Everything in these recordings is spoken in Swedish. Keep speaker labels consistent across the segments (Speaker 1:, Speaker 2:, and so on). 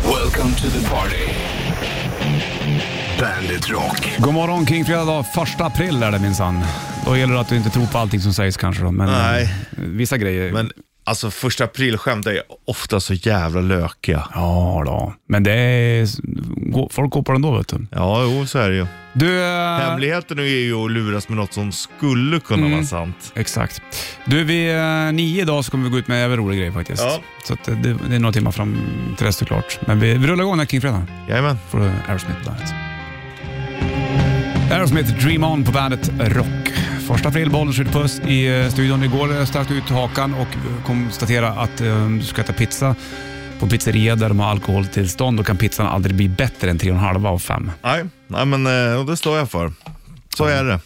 Speaker 1: Welcome to the party. Bandit Rock.
Speaker 2: God morgon kring fredag dag, första april är det minsann. Då gäller det att du inte tror på allting som sägs kanske då, men
Speaker 3: Nej.
Speaker 2: eh, vissa grejer.
Speaker 3: Men alltså första aprilskämt är ofta så jävla lökiga.
Speaker 2: Ja då, men det är... gå- Folk går på den då vet du.
Speaker 3: Ja, jo så är det ju.
Speaker 2: Du... eh,
Speaker 3: Hemligheten är ju att luras med något som skulle kunna
Speaker 2: Mm.
Speaker 3: vara sant.
Speaker 2: Exakt. Du, vid eh, nio idag så kommer vi gå ut med en jävligt rolig grej faktiskt.
Speaker 3: Ja.
Speaker 2: Så att eh, det, det är några timmar fram till dess såklart. Men vi, vi rullar igång den här kringfredagen.
Speaker 3: Jajamän.
Speaker 2: får du Aerosmith på bandet. Aerosmith Dream On på bandet Rock. Första april, Bollnäs skjuter puss i eh, studion. Igår eh, stack du ut hakan och eh, konstatera att eh, du ska äta pizza på en pizzeria där de har alkoholtillstånd. Då kan pizzan aldrig bli bättre än 3,5 av 5.
Speaker 3: Nej, nej men eh, och det står jag för. Så är det.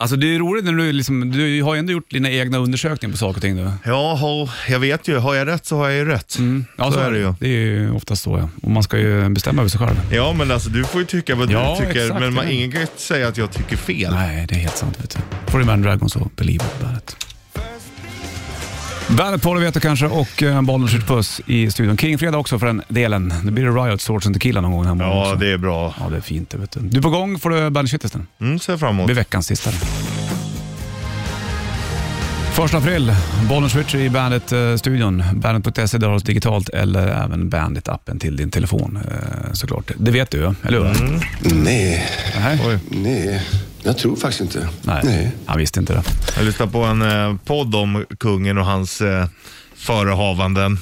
Speaker 2: Alltså det är roligt när du liksom, du har ju ändå gjort dina egna undersökningar på saker och ting nu.
Speaker 3: Ja, ho, jag vet ju. Har jag rätt så har jag ju rätt.
Speaker 2: Mm. Ja,
Speaker 3: så, är det ju.
Speaker 2: Det är ju oftast så ja. Och man ska ju bestämma över sig själv.
Speaker 3: Ja, men alltså du får ju tycka vad
Speaker 2: Ja,
Speaker 3: du tycker,
Speaker 2: exakt,
Speaker 3: men man,
Speaker 2: ja.
Speaker 3: ingen kan ju säga att jag tycker fel.
Speaker 2: Nej, det är helt sant. Vet du. Får du med Dragons och Believe på bandet. Bandet på det vet du kanske och eh, Bollnäs skjuter puss i studion. Kingfredag också för den delen. Nu blir det Riot, Swords and Tequila någon gång den här morgonen
Speaker 3: Ja,
Speaker 2: också.
Speaker 3: det är bra.
Speaker 2: Ja, det är fint det vet du. Du är på gång får du Bandet Shitlisten.
Speaker 3: Mm, ser jag fram
Speaker 2: Det
Speaker 3: emot.
Speaker 2: blir veckans sista. Första april, Bollnäs Switch i eh, Bandit-studion. Bandit.se, där har du oss digitalt eller även Bandit-appen till din telefon eh, såklart. Det vet du, eller hur?
Speaker 3: Mm.
Speaker 4: Nej,
Speaker 2: Nej.
Speaker 4: nej. Jag tror faktiskt inte.
Speaker 2: Nej. han visste inte det.
Speaker 3: Jag lyssnade på en eh, podd om kungen och hans eh, förehavanden.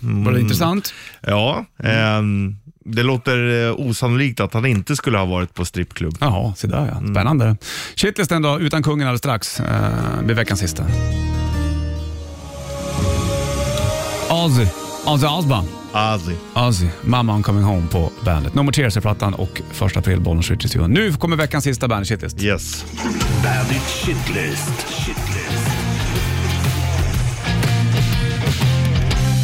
Speaker 2: Var det intressant?
Speaker 3: Ja, ehm, det låter eh, osannolikt att han inte skulle ha varit på strippklubb.
Speaker 2: Jaha, Mm. se där ja. Spännande. Shitlisten då, utan kungen alldeles strax. Eh, blir veckans sista. Ozzy. Ozzy Osbourne.
Speaker 3: Asi.
Speaker 2: Ozzy, Mamma I'm coming home på bandet. No more tears är plattan och första april Bollnäs Ritchie studion. Nu kommer veckans sista bandet Shitlist.
Speaker 3: Yes.
Speaker 1: Bandit Shitlist. Shitlist.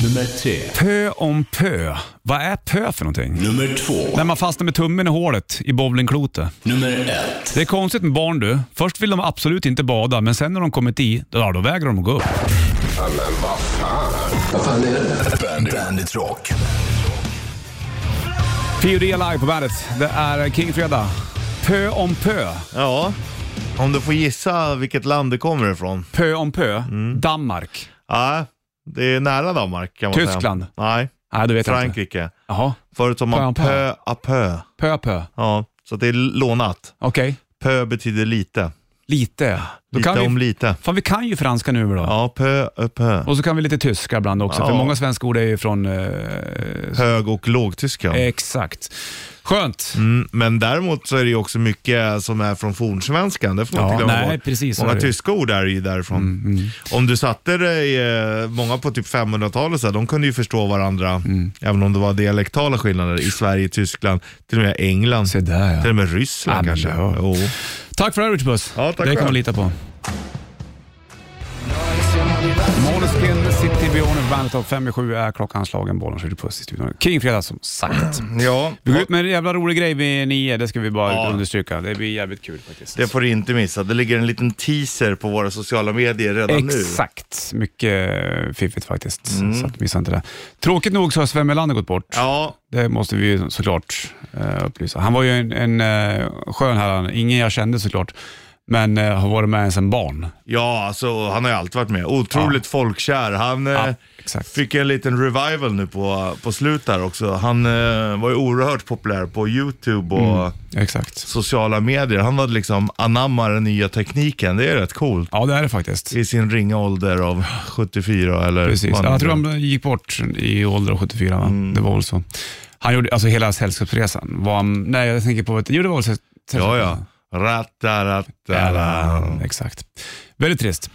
Speaker 1: Nummer tre.
Speaker 2: Pö om pö. Vad är pö för någonting?
Speaker 1: Nummer två.
Speaker 2: När man fastnar med tummen i hålet i bowlingklotet.
Speaker 1: Nummer ett.
Speaker 2: Det är konstigt med barn du. Först vill de absolut inte bada, men sen när de kommit i, då, då vägrar de att gå upp.
Speaker 1: Bandit, Bandit Rock.
Speaker 2: P.O.D. live på bandet. Det är King Fredag. Pö om pö.
Speaker 3: Ja, om du får gissa vilket land det kommer ifrån.
Speaker 2: Pö om pö.
Speaker 3: Mm.
Speaker 2: Danmark.
Speaker 3: Ja, det är nära Danmark kan man
Speaker 2: Tyskland.
Speaker 3: säga. Nej,
Speaker 2: Nej, du vet jag inte.
Speaker 3: Frankrike.
Speaker 2: Jaha.
Speaker 3: Förut sa man
Speaker 2: Pö, pö.
Speaker 3: pö à pö.
Speaker 2: Pö pö.
Speaker 3: Ja, så det är lånat.
Speaker 2: Okej.
Speaker 3: Pö betyder lite.
Speaker 2: Lite. Då
Speaker 3: Lite
Speaker 2: kan
Speaker 3: om
Speaker 2: vi...
Speaker 3: lite.
Speaker 2: Fan, vi kan ju franska nu då.
Speaker 3: Ja, pö ö pö.
Speaker 2: Och så kan vi lite tyska ibland också, för
Speaker 3: Ja.
Speaker 2: många svenska ord är ju från... Eh,
Speaker 3: Hög och lågtyska.
Speaker 2: exakt. Skönt.
Speaker 3: Mm, men däremot så är det ju också mycket som är från fornsvenskan. Det får man
Speaker 2: Ja,
Speaker 3: inte glömma
Speaker 2: nej,
Speaker 3: bort.
Speaker 2: precis, så är
Speaker 3: Många
Speaker 2: det Mm, ju.
Speaker 3: tyska ord är ju därifrån. Om du satte dig, eh, många på typ 500-talet, så här, de kunde ju förstå varandra,
Speaker 2: Mm.
Speaker 3: även om det var dialektala skillnader i Sverige, Tyskland, till och med England,
Speaker 2: Se där
Speaker 3: till
Speaker 2: ja.
Speaker 3: och med
Speaker 2: Ja, men
Speaker 3: Ryssland kanske.
Speaker 2: ja.
Speaker 3: Jo.
Speaker 2: Tack för det här Richard Puss.
Speaker 3: Ja, tack
Speaker 2: Det kan
Speaker 3: själv.
Speaker 2: man lita på. Måneskin, City Beyond, Bandet av 5 i 7 är klockan slagen. Bollen skjuter puss i studion. King Fredag som sagt.
Speaker 3: Ja,
Speaker 2: Vi går ut med en jävla rolig grej vid nio, det ska vi bara
Speaker 3: Ja.
Speaker 2: understryka. Det blir jävligt kul faktiskt.
Speaker 3: det får du inte missa. Det ligger en liten teaser på våra sociala medier redan nu. Mm.
Speaker 2: Exakt, mycket eh, fiffigt faktiskt. Så att missa inte det. Tråkigt nog så har Sven Melander gått bort.
Speaker 3: Ja,
Speaker 2: Det måste vi ju såklart eh, upplysa. Han var ju en, en eh, skön herre, ingen jag kände såklart, men eh, har varit med sedan
Speaker 3: Eh,
Speaker 2: barn.
Speaker 3: ja alltså, han har ju alltid varit med. Otroligt folkkär. Han, eh,
Speaker 2: Ja, exakt.
Speaker 3: Fick en liten revival nu på, på slut där också. Han eh, var ju oerhört populär på YouTube och
Speaker 2: Mm. Exakt.
Speaker 3: sociala medier. Han hade liksom anammat den nya tekniken. Det är rätt coolt.
Speaker 2: Ja, det är det faktiskt.
Speaker 3: I sin ringa ålder av 74 eller
Speaker 2: Precis.
Speaker 3: vad
Speaker 2: Ja,
Speaker 3: han
Speaker 2: Jag tror
Speaker 3: gjorde.
Speaker 2: han gick bort i ålder av 74, va?
Speaker 3: Mm.
Speaker 2: det var väl så. Han gjorde, alltså hela Sällskapsresan, var han, nej jag tänker på, jo det var väl Säll-
Speaker 3: Ja,
Speaker 2: Sällskapsresan?
Speaker 3: ja. Rattarattara.
Speaker 2: Eller, exakt. Väldigt trist.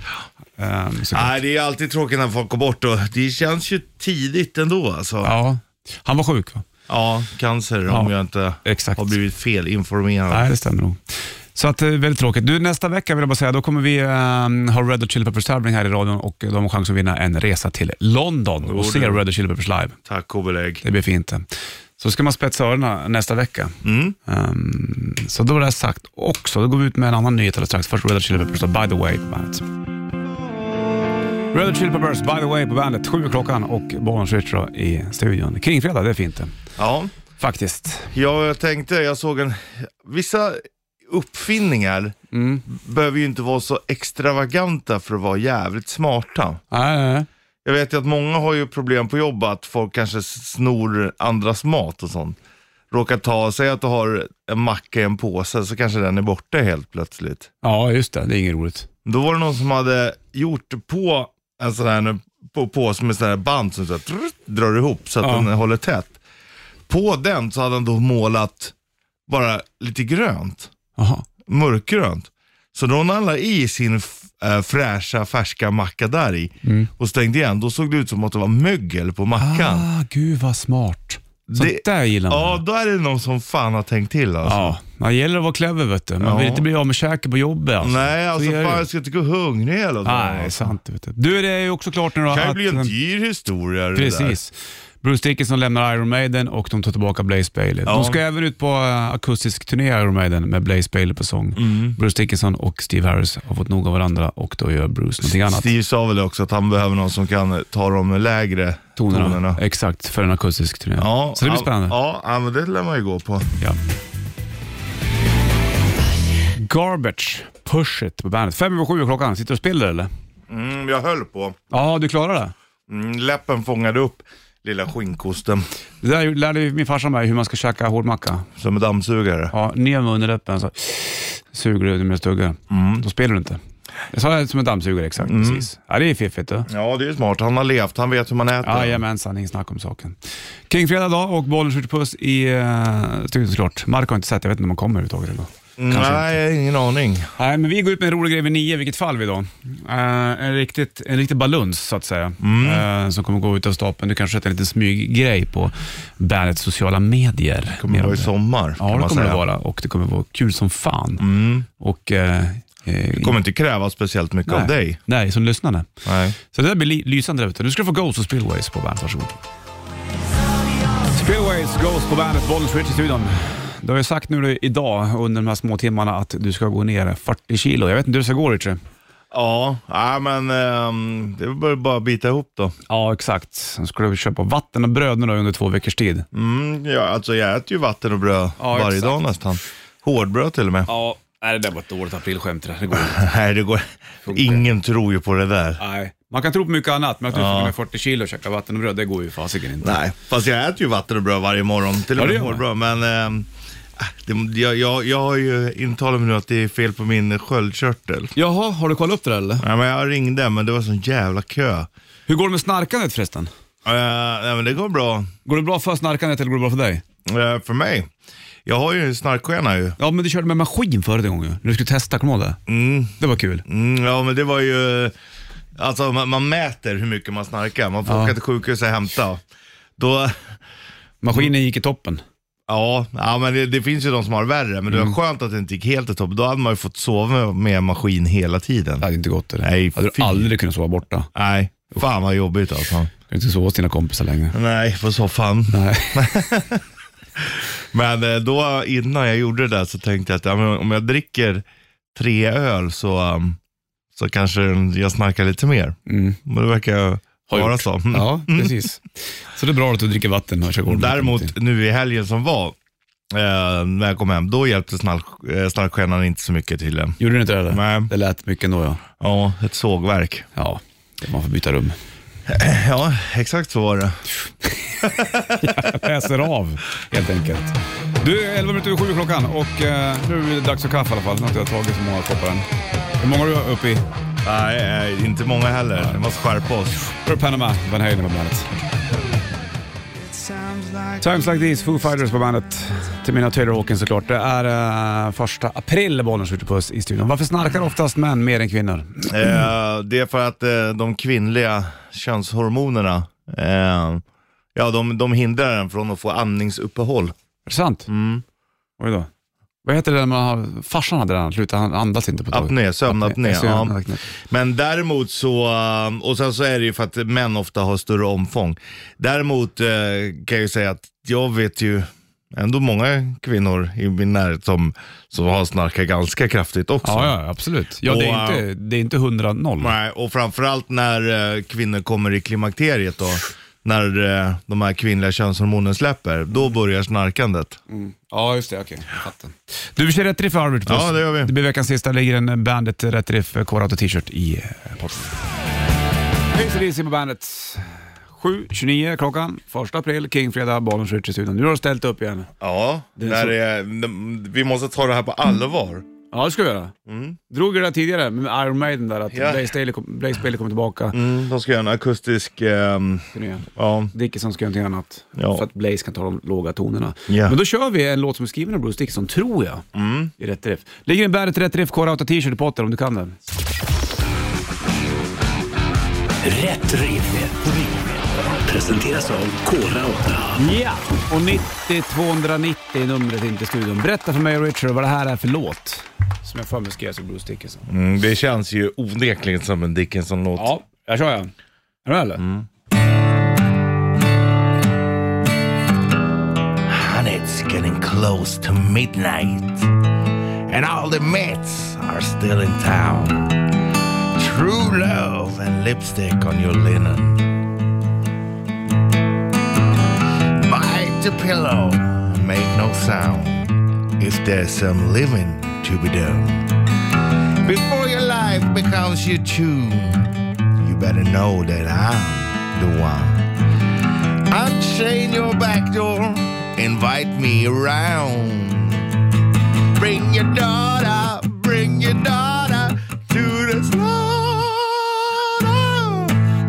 Speaker 2: Ehm, så-
Speaker 3: Nej, det är alltid tråkigt när folk går bort och det känns ju tidigt ändå alltså. Ja,
Speaker 2: ja. Han var sjuk va?
Speaker 3: cancer
Speaker 2: Ja,
Speaker 3: om jag inte
Speaker 2: exakt.
Speaker 3: har blivit felinformerad.
Speaker 2: Nej, det stämmer nog. Så att, eh, väldigt tråkigt. Du, nästa vecka vill jag bara säga, då kommer vi ehm, ha Red Hot Chili Peppers tävling här i radion och eh, de har chans att vinna en resa till London och se
Speaker 3: du.
Speaker 2: Red Hot Chili Peppers live.
Speaker 3: Tack och belägg.
Speaker 2: Det blir fint. det. Så ska man spetsa öronen nästa vecka.
Speaker 3: Mm.
Speaker 2: Ehm, så då var det sagt också. Då går vi ut med en annan nyhet alldeles strax. Först Red Hot Chili Peppers och By the Way på bandet. Red Hot Chili Peppers, By the Way på bandet. Sju klockan och Bonus Richard i studion. Kringfredag, det är fint det.
Speaker 3: Ja.
Speaker 2: Faktiskt.
Speaker 3: Ja, jag tänkte, jag såg en... Vissa uppfinningar behöver ju inte vara så extravaganta för att vara jävligt smarta.
Speaker 2: Nej, nej, nej.
Speaker 3: Jag vet ju att många har ju problem på jobbet, att folk kanske snor andras mat och sånt. Råkar ta, säg att du har en macka i en påse, så kanske den är borta helt plötsligt.
Speaker 2: Ja, just det. Det är inget roligt.
Speaker 3: Då var det någon som hade gjort på en sån här på, påse med sån här band som så här, trrrt, drar ihop så att
Speaker 2: Ja.
Speaker 3: den håller tätt. På den så hade han då målat bara lite grönt,
Speaker 2: Jaha.
Speaker 3: mörkgrönt. Så då när han la i sin f- eh, fräscha färska macka där i
Speaker 2: Mm.
Speaker 3: och stängde igen, då såg det ut som att det var mögel på mackan.
Speaker 2: Ah, gud vad smart. Sånt
Speaker 3: Det-
Speaker 2: där gillar man.
Speaker 3: Ja, då är det någon som fan har tänkt till alltså.
Speaker 2: Ja, man gäller att vara clever vet du. Man
Speaker 3: Ja.
Speaker 2: vill inte bli av med käken på jobbet. Alltså.
Speaker 3: Nej, alltså
Speaker 2: Så är det
Speaker 3: fan
Speaker 2: ju.
Speaker 3: jag ska inte gå hungrig hela dagen.
Speaker 2: Nej,
Speaker 3: alltså.
Speaker 2: sant. Vet du. du, det är ju också klart nu då
Speaker 3: Det kan ju
Speaker 2: att...
Speaker 3: bli en dyr historia det där.
Speaker 2: Precis. Bruce Dickinson lämnar Iron Maiden och de tar tillbaka Blaze Bailey.
Speaker 3: Ja.
Speaker 2: De ska även ut på eh, akustisk turné Iron Maiden med Blaze Bailey på sång.
Speaker 3: Mm.
Speaker 2: Bruce Dickinson och Steve Harris har fått nog av varandra och då gör Bruce någonting annat.
Speaker 3: Steve sa väl också att han behöver någon som kan ta de lägre
Speaker 2: Tonerna.
Speaker 3: tonerna.
Speaker 2: Exakt, för en akustisk turné.
Speaker 3: Ja,
Speaker 2: Så det blir
Speaker 3: ja,
Speaker 2: spännande.
Speaker 3: Ja, ja, men det lär man ju gå på.
Speaker 2: Ja. Garbage, Push It på bandet. Fem över sju är klockan. Sitter du och spelar eller?
Speaker 3: Mm, jag höll på.
Speaker 2: Ja, du klarar det.
Speaker 3: Mm, läppen fångade upp lilla skinkosten
Speaker 2: Det där lärde ju min farsa mig, hur man ska käka hårdmacka.
Speaker 3: som en dammsugare.
Speaker 2: Ja, ner med underläppen så suger du med tuggar.
Speaker 3: Mm.
Speaker 2: Då spelar du inte. Jag sa det som en dammsugare exakt, precis. Ja, det är fiffigt du.
Speaker 3: Ja, det är ju smart. Han har levt, han vet hur man äter.
Speaker 2: Jajamensan, inget snack om saken. Kingfredag idag och bollen skjuter puss i uh, studion såklart. Mark har inte sett, jag vet inte om han kommer överhuvudtaget idag. Kanske
Speaker 3: Mm, Nej, jag har ingen aning.
Speaker 2: Nej, men vi går ut med en rolig grej vid nio, vilket fall vi då. Eh, en, riktigt, en riktig baluns så att säga,
Speaker 3: Mm.
Speaker 2: eh, som kommer gå ut av stapeln. Du kanske sätter en liten smyggrej på bandets sociala medier.
Speaker 3: Det kommer
Speaker 2: Mer om
Speaker 3: vara i
Speaker 2: det.
Speaker 3: sommar, kan
Speaker 2: Ja, det kommer
Speaker 3: man
Speaker 2: det
Speaker 3: säga. Mm.
Speaker 2: vara och det kommer vara kul som fan. Och, eh, eh,
Speaker 3: Det kommer inte kräva speciellt mycket
Speaker 2: nej.
Speaker 3: av dig.
Speaker 2: Nej, som lyssnare.
Speaker 3: Nej.
Speaker 2: Så det där blir li- lysande där ute. Nu ska du få Ghost och Spillways på bandet. Varsågod. Spillways, Ghost på bandet, Bollnäs Rich i studion. Du har ju sagt nu då idag under de här små timmarna att du ska gå ner 40 kilo. Jag vet inte hur det ska gå Richard.
Speaker 3: Ja, nej, men ehm, det är väl bara att bita ihop då.
Speaker 2: Ja, exakt. Sen skulle du köpa vatten och bröd nu då under två veckors tid.
Speaker 3: Mm, ja, alltså jag äter ju vatten och bröd
Speaker 2: Ja,
Speaker 3: varje
Speaker 2: exakt.
Speaker 3: dag nästan. Hårdbröd till och med.
Speaker 2: Ja, nej, det där var ett dåligt aprilskämt. Det går inte.
Speaker 3: Nej, det går... Ingen tror ju på det där.
Speaker 2: Nej. Man kan tro på mycket annat, men att du får gå ner 40 kilo och käka vatten och bröd, det går ju fasiken inte.
Speaker 3: Nej, fast jag äter ju vatten och bröd varje morgon. Till
Speaker 2: Ja,
Speaker 3: och
Speaker 2: det
Speaker 3: med
Speaker 2: gör man.
Speaker 3: hårdbröd. Men ehm, äh, det, jag, jag, jag har ju intalat mig nu att det är fel på min sköldkörtel.
Speaker 2: Jaha, har du kollat upp det där, eller?
Speaker 3: Nej, men jag ringde, men det var sån jävla kö.
Speaker 2: Hur går det med snarkandet förresten?
Speaker 3: Eh, nej, men det går bra
Speaker 2: Går det bra för snarkandet eller går det bra för dig?
Speaker 3: eh, för mig. Jag har ju en snarkskena ju.
Speaker 2: Ja, men du körde med maskin förra gången ju. När du skulle testa, kommer du ihåg det? Mm. Det var kul.
Speaker 3: Mm, ja, men det var ju... Alltså man, man mäter hur mycket man snarkar. Man får åka till sjukhus och hämta. Då,
Speaker 2: Maskinen gick i toppen.
Speaker 3: ja, ja, men det, det finns ju de som har värre, men det var skönt att det inte gick helt i topp. Då hade man ju fått sova med maskin hela tiden.
Speaker 2: Det hade inte gått. Eller?
Speaker 3: Nej,
Speaker 2: hade du
Speaker 3: fy.
Speaker 2: aldrig kunnat sova borta.
Speaker 3: Nej, fan vad jobbigt alltså.
Speaker 2: Du kan inte sova hos dina kompisar längre.
Speaker 3: Nej, på soffan.
Speaker 2: Nej.
Speaker 3: Men eh, då innan jag gjorde det där så tänkte jag att ja, men om jag dricker tre öl så, um, så kanske jag snarkar lite mer.
Speaker 2: Mm.
Speaker 3: Men det verkar jag
Speaker 2: Har
Speaker 3: vara
Speaker 2: gjort.
Speaker 3: så. Mm.
Speaker 2: Ja, precis. Så det är bra att du dricker vatten och kör golv.
Speaker 3: Däremot nu i helgen som var, eh, när jag kom hem, då hjälpte snark- eh, snarkskenan inte så mycket till. eh.
Speaker 2: Gjorde du inte det eller?
Speaker 3: Nej.
Speaker 2: Det lät mycket ändå ja.
Speaker 3: Ja, ett sågverk.
Speaker 2: Ja, man får byta rum.
Speaker 3: Ja, exakt så var det.
Speaker 2: Läser av helt enkelt. Du, 11 minuter över sju klockan och eh, nu är det dags för kaffe i alla fall. Nu har inte jag tagit så många koppar än. Hur många har du uppe i?
Speaker 3: Nej, eh, inte många heller. Vi måste skärpa oss.
Speaker 2: Då är det Panama, Van Halen på bandet. Times like these, Foo Fighters på bandet. Till mina Taylor Hawkins såklart. Det är eh, första april bollen skjuter på oss i studion. Varför snarkar oftast män mer än kvinnor?
Speaker 3: Eh, det är för att eh, de kvinnliga könshormonerna, eh, ja, de, de hindrar en från att få andningsuppehåll.
Speaker 2: Är det sant?
Speaker 3: Mm.
Speaker 2: Oj då. Vad heter det när man har, farsan hade den, han slutade, han andas inte på Alltså, ett tag.
Speaker 3: Apné, sömnapné. Ja.
Speaker 2: Sömnapné.
Speaker 3: Men däremot så, eh, och sen så är det ju för att män ofta har större omfång. Däremot eh, kan jag ju säga att jag vet ju ändå många kvinnor i min närhet som, som har snarkat ganska kraftigt också.
Speaker 2: Ja, ja, absolut. Ja, det, är
Speaker 3: Och, eh,
Speaker 2: inte, det är inte 100 noll.
Speaker 3: Nej, och framförallt när eh, kvinnor kommer i klimakteriet då. när eh, de här kvinnliga könshormonen släpper, då börjar snarkandet.
Speaker 2: Ja, just det. Okej, jag fattar. Du, vi kör rätt riff för Albert.
Speaker 3: Ja, det gör vi.
Speaker 2: Det blir veckans sista. ligger en Bandet Rätt Riff Core t-shirt i eh, posten. Hej så Rizzi på Bandet. 7.29 klockan, 1 april, Kingfredag, bollen skjuts i studion. Nu har du ställt upp igen.
Speaker 3: Ja,
Speaker 2: är
Speaker 3: där
Speaker 2: så-
Speaker 3: är, de- vi måste ta det här på allvar.
Speaker 2: Ja, det ska vi göra. Drog ju det där tidigare med Iron Maiden där, att
Speaker 3: Mm. Ja.
Speaker 2: Blaze Bailey kom- Blaze Bailey kommer tillbaka.
Speaker 3: Mm, de ska göra en akustisk, ehm,
Speaker 2: turné.
Speaker 3: ja,
Speaker 2: Dickinson ska göra någonting annat.
Speaker 3: Ja.
Speaker 2: För att Blaze kan ta de låga tonerna.
Speaker 3: Ja. Mm.
Speaker 2: Men då kör vi en låt som är skriven av Bruce Dickinson, tror jag, i Rätt Riff. Ligger en Bandet Rätt Riff Core t-shirt i potten om du kan den.
Speaker 1: Rätt riff. Presenteras av Kora 8.
Speaker 2: Ja, och 90290 är numret in till studion. Berätta för mig och Richard vad det här är för låt som jag för mig skrevs av Bruce Dickinson.
Speaker 3: mm, det känns ju onekligen som en Dickinson-låt.
Speaker 2: Ja, jag kör jag. Är du med eller?
Speaker 5: and it's getting close to midnight. And all the mates are still in town. True love and lipstick on your linen. Bite the pillow and make no sound if there's some living to be done. Before your life becomes your tune, you better know that I'm the one. Unchain your back door, invite me around. Bring your daughter, bring your daughter to the slaughter.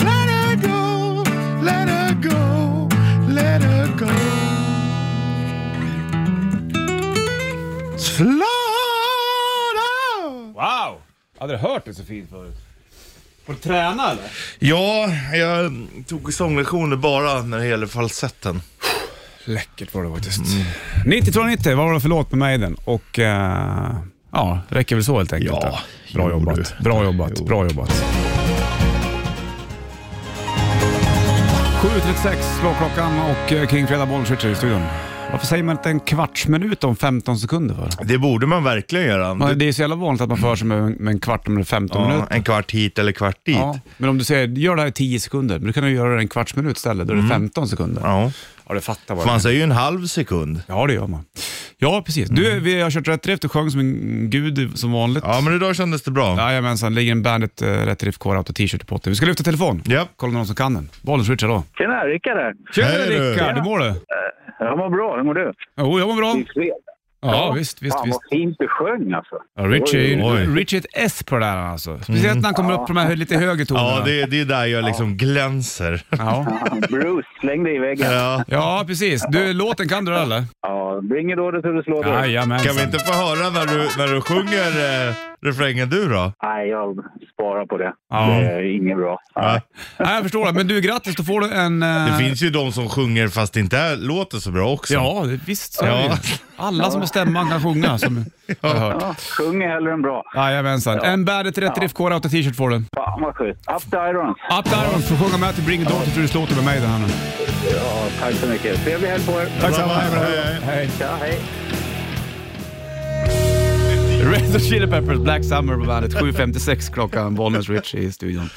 Speaker 5: Let her go, let her go, let her go. Slaughter!
Speaker 2: Wow! Hade du hört det så fint förut? Får du träna eller?
Speaker 3: Ja, jag tog sånglektioner bara när det gäller falsetten.
Speaker 2: Läckert var det faktiskt. 9290, Mm. vad var det för låt med Maiden? Och eh, ja, räcker väl så helt enkelt.
Speaker 3: Ja,
Speaker 2: då. bra,
Speaker 3: jo
Speaker 2: jobbat.
Speaker 3: du.
Speaker 2: bra jobbat.
Speaker 3: Jo.
Speaker 2: Bra jobbat. 7.36 slår klockan och eh, King Fredag Bollswitch är i studion. Varför säger man inte en kvarts minut om 15 sekunder för?
Speaker 3: Det borde man verkligen göra.
Speaker 2: Man, det är så jävla vanligt att man för sig med, med en kvart eller 15
Speaker 3: ja,
Speaker 2: minuter.
Speaker 3: en kvart hit eller kvart dit.
Speaker 2: Ja,
Speaker 3: Ja.
Speaker 2: men om du säger gör det här i 10 sekunder, men då kan du göra det i en kvarts minut istället. Då är det 15 sekunder. Mm. Ja, du fattar vad
Speaker 3: För
Speaker 2: det är.
Speaker 3: man säger ju en halv sekund.
Speaker 2: Ja, det gör man. Ja, precis. Du, vi har kört Rätt Riff. Du sjöng som en gud som vanligt.
Speaker 3: Mm. Ja, men idag kändes det bra.
Speaker 2: Jajamensan, ligger en Bandet uh, Rätt Riff Core Auto t-shirt i potten. Vi ska lyfta telefon.
Speaker 3: Ja.
Speaker 2: Kolla någon som kan den. Bollens Richard då.
Speaker 6: Tjena, Rickard här.
Speaker 2: Tjena
Speaker 3: Hej du.
Speaker 2: Rickard, hur mår du?
Speaker 6: Jag mår bra, hur mår du?
Speaker 2: Jo, jag mår bra.
Speaker 6: Det är fredag.
Speaker 2: Ja, visst, visst,
Speaker 6: Fan
Speaker 2: visst.
Speaker 6: vad fint du sjöng alltså.
Speaker 2: Ja, Richie är
Speaker 3: Oj. Mm.
Speaker 2: ju- Richie är ett S på det där alltså. Speciellt när han kommer upp på de här lite högre tonerna.
Speaker 3: Ja, det, det är där jag liksom glänser.
Speaker 2: ja.
Speaker 6: Bruce, släng dig i väggen.
Speaker 3: Ja.
Speaker 2: ja, precis. Du, låten kan du då, eller?
Speaker 6: Ja, bring it order till the slaughter.
Speaker 2: Jajamensan.
Speaker 3: Kan vi inte få höra när du, när du sjunger eh, refrängen du då?
Speaker 6: Nej, jag sparar på det.
Speaker 2: Ja.
Speaker 6: Det är inget bra.
Speaker 3: Ja.
Speaker 2: Nej, jag förstår det. Men du, grattis. Då får du en... eh,
Speaker 3: Det finns ju de som sjunger fast det inte är, låter så bra också.
Speaker 2: Ja, det- visst så är det
Speaker 3: Ja.
Speaker 2: ju. Alla som har stämman kan sjunga, som jag har hört.
Speaker 6: Ja, sjung hellre än bra.
Speaker 2: Jajamensan. En Bandet Rätt Riff Core Auto t-shirt får du.
Speaker 6: Fan vad schysst. Up the irons.
Speaker 2: Up the Irons får sjunga med till Bring It On till Truls låter med mig den här nu.
Speaker 6: Ja, tack så mycket. Trevlig helg på er.
Speaker 2: Tack så
Speaker 3: Bra,
Speaker 2: mycket.
Speaker 3: bra, hej, hej.
Speaker 2: Hej.
Speaker 6: Ja, hej.
Speaker 2: Red Hot Chili Peppers, Black Summer på bandet. 7.56 klockan, Bollnäs Rich i studion.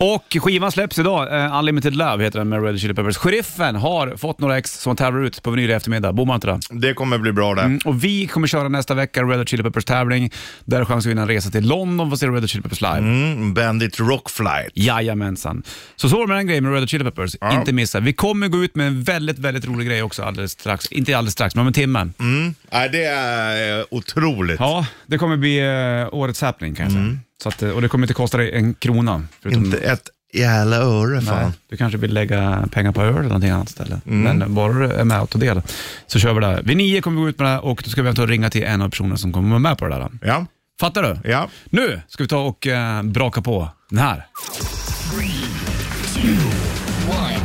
Speaker 2: Och skivan släpps idag, eh, Unlimited Love heter den med Red Hot Chili Peppers. Sheriffen har fått några ex som tävlar ut på vinyl i eftermiddag, bommar inte det?
Speaker 3: Det kommer bli bra det.
Speaker 2: Och vi kommer köra nästa vecka Red Hot Chili Peppers tävling. Där har chans att vinna en resa till London för att se Red Hot Chili Peppers live.
Speaker 3: Mm, Bandit Rock Flight.
Speaker 2: Jajamensan. Så så var det med den grejen med Red Hot Chili Peppers.
Speaker 3: Ja.
Speaker 2: Inte missa. Vi kommer gå ut med en väldigt, väldigt rolig grej också alldeles strax. Inte alldeles strax, men om en timme.
Speaker 3: Mm. Nej, det är eh, otroligt.
Speaker 2: Ja, det kommer bli eh, årets happening kan jag säga. Så att, eh, och det kommer inte kosta dig en krona. Förutom,
Speaker 3: Mm. Inte ett jävla öre fan.
Speaker 2: Nej, du kanske vill lägga pengar på öl eller någonting annat ställe.
Speaker 3: Mm.
Speaker 2: Men bara du är med och tar del så kör vi det här. Vid nio kommer vi gå ut med det här och då ska vi ta och ringa till en av personerna som kommer vara med på det där.
Speaker 3: Ja,
Speaker 2: Fattar du?
Speaker 3: ja.
Speaker 2: Nu ska vi ta och eh, braka på den här.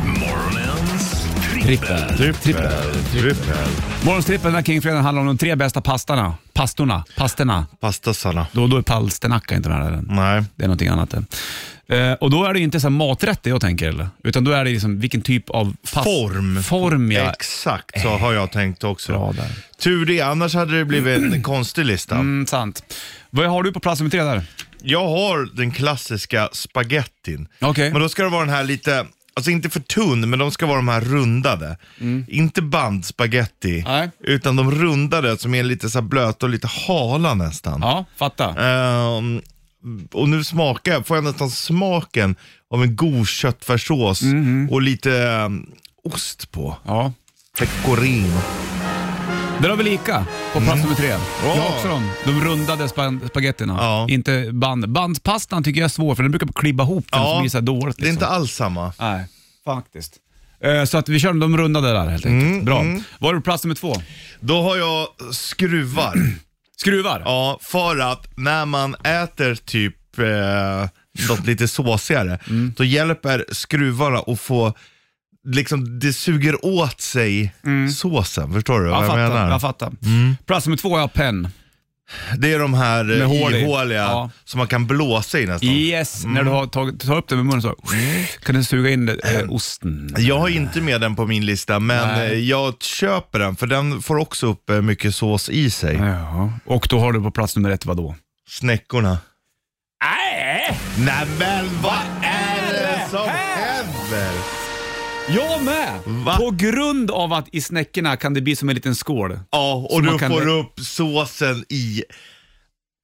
Speaker 1: Morgonens
Speaker 2: Trippel. Trippel.
Speaker 3: Trippel.
Speaker 2: Morgonstrippen den här Kingfredagen handlar om de tre bästa pastarna. Pastorna. Pasterna.
Speaker 3: Pastasarna.
Speaker 2: Då, då är palsternacka inte den här. Den.
Speaker 3: Nej.
Speaker 2: Det är någonting annat. det. Eh, och då är det ju inte så här maträtt det jag tänker, eller? utan då är det liksom vilken typ av pas-
Speaker 3: Form.
Speaker 2: Form, ja. Eh,
Speaker 3: Exakt så har jag tänkt också.
Speaker 2: Bra där.
Speaker 3: Tur det, annars hade det blivit en konstig lista.
Speaker 2: Mm, sant. Vad har du på plats nummer tre där?
Speaker 3: Jag har den klassiska spagettin.
Speaker 2: Okej.
Speaker 3: Men då ska det vara den här lite alltså inte för tunn, men de ska vara de här rundade. Inte bandspaghetti,
Speaker 2: Mm. Nej.
Speaker 3: utan de rundade som är lite så här blöta och lite hala nästan.
Speaker 2: Ja, fatta.
Speaker 3: Ehm, och nu smakar jag, får jag nästan smaken av en god köttfärssås
Speaker 2: Mhm.
Speaker 3: och lite ehm, ost på.
Speaker 2: Ja.
Speaker 3: Pecorino.
Speaker 2: Där har vi lika på plats nummer tre. Jag har
Speaker 3: Ja.
Speaker 2: också dem. De rundade spa- spagettina.
Speaker 3: Mm. Ja.
Speaker 2: Inte band. Bandpastan tycker jag är svår för den brukar klibba ihop den som blir så här dåligt. liksom.
Speaker 3: det är inte alls samma.
Speaker 2: Nej, faktiskt. Eh, Så att vi kör de rundade där helt enkelt.
Speaker 3: Mm,
Speaker 2: Bra. Var är du på plats nummer två?
Speaker 3: Då har jag skruvar.
Speaker 2: Skruvar?
Speaker 3: ja, för att när man äter typ eh, något lite såsigare,
Speaker 2: Mm.
Speaker 3: då hjälper skruvarna att få Liksom det suger åt sig såsen, förstår du
Speaker 2: Mm. jag,
Speaker 3: vad jag
Speaker 2: fattar.
Speaker 3: menar?
Speaker 2: Jag fattar.
Speaker 3: Mm.
Speaker 2: Plats nummer två är penn.
Speaker 3: Det är de här eh,
Speaker 2: Med hål i.
Speaker 3: ihåliga
Speaker 2: Ja.
Speaker 3: som man kan blåsa i nästan.
Speaker 2: Yes,
Speaker 3: Mm.
Speaker 2: när du har tagit, tar upp den med munnen så kan den suga in
Speaker 3: Mm.
Speaker 2: eh, osten.
Speaker 3: Jag har inte med den på min lista, men
Speaker 2: Nej.
Speaker 3: eh, jag köper den för den får också upp eh, mycket sås i sig.
Speaker 2: Ja. Och då har du på plats nummer ett vad då?
Speaker 3: Snäckorna.
Speaker 2: Nej!
Speaker 3: Nej men vad är
Speaker 2: Äh!
Speaker 3: det som
Speaker 2: här?
Speaker 3: händer?
Speaker 2: Jag med!
Speaker 3: Va?
Speaker 2: På grund av att i snäckorna kan det bli som en liten skål.
Speaker 3: Ja,
Speaker 2: Så
Speaker 3: och
Speaker 2: man
Speaker 3: du
Speaker 2: kan-
Speaker 3: får upp såsen i...